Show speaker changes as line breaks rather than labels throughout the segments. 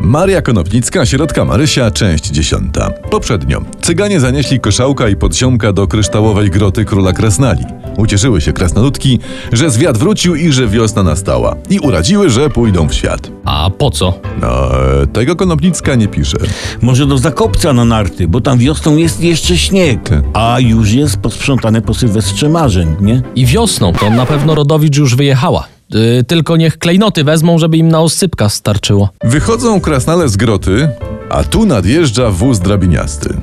Maria Konopnicka, środka Marysia, część dziesiąta. Poprzednio cyganie zanieśli koszałka i podsiąka do kryształowej groty króla Krasnali. Ucieszyły się krasnoludki, że zwiat wrócił i że wiosna nastała. I uradziły, że pójdą w świat.
A po co?
No, e, tego Konopnicka nie pisze.
Może do Zakopca na narty, bo tam wiosną jest jeszcze śnieg,
Ty.
a już jest posprzątane po Sylwestrze marzeń, nie?
I wiosną to na pewno Rodowicz już wyjechała. Yy, tylko niech klejnoty wezmą, żeby im na oscypka starczyło.
Wychodzą krasnale z groty, a tu nadjeżdża wóz drabiniasty.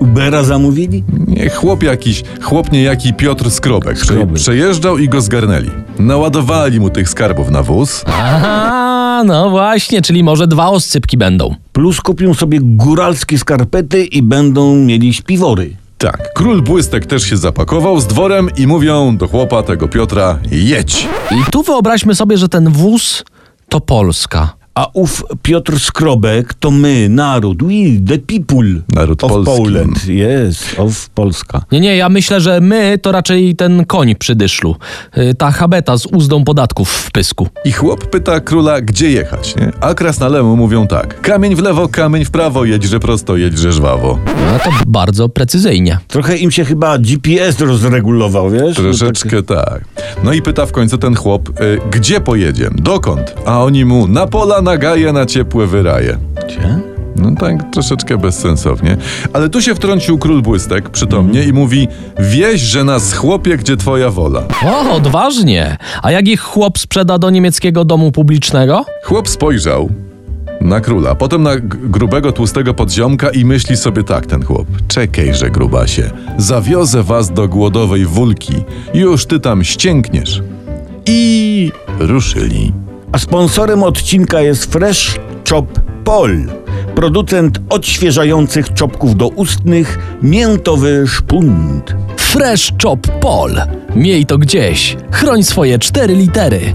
Ubera zamówili?
Nie, chłop jakiś, chłop niejaki Piotr Skrobek. Prze-
Skrobek.
Przejeżdżał i go zgarnęli. Naładowali mu tych skarbów na wóz.
Aha, no właśnie, czyli może dwa oscypki będą.
Plus kupią sobie góralskie skarpety i będą mieli śpiwory.
Tak, król Błystek też się zapakował z dworem i mówią do chłopa tego Piotra, jedź!
I tu wyobraźmy sobie, że ten wóz to Polska.
A ów Piotr Skrobek to my, naród, we the people.
Naród
of
polski.
Poland, yes, of Polska.
Nie, nie, ja myślę, że my to raczej ten koń przy dyszlu. Yy, ta habeta z uzdą podatków w pysku.
I chłop pyta króla, gdzie jechać, nie? A krasnalemu mówią tak, kamień w lewo, kamień w prawo, jedźże prosto, jedźże żwawo.
No to bardzo precyzyjnie.
Trochę im się chyba GPS rozregulował, wiesz?
Troszeczkę tak. No i pyta w końcu ten chłop, y, gdzie pojedzie, dokąd? A oni mu, na pola, na gaje, na ciepłe wyraje.
Tak, Gdzie?
No tak, troszeczkę bezsensownie. Ale tu się wtrącił król Błystek przytomnie i mówi, wieź, że nas chłopie, gdzie twoja wola.
O, odważnie. A jak ich chłop sprzeda do niemieckiego domu publicznego?
Chłop spojrzał na króla, potem na g- grubego, tłustego podziomka i myśli sobie tak ten chłop. Czekajże, grubasie, zawiozę was do głodowej wulki. Już ty tam ścięgniesz. I ruszyli.
A sponsorem odcinka jest Fresh Chop Pol, producent odświeżających czopków doustnych, miętowy szpunt.
Fresh Chop Pol. Miej to gdzieś. Chroń swoje cztery litery.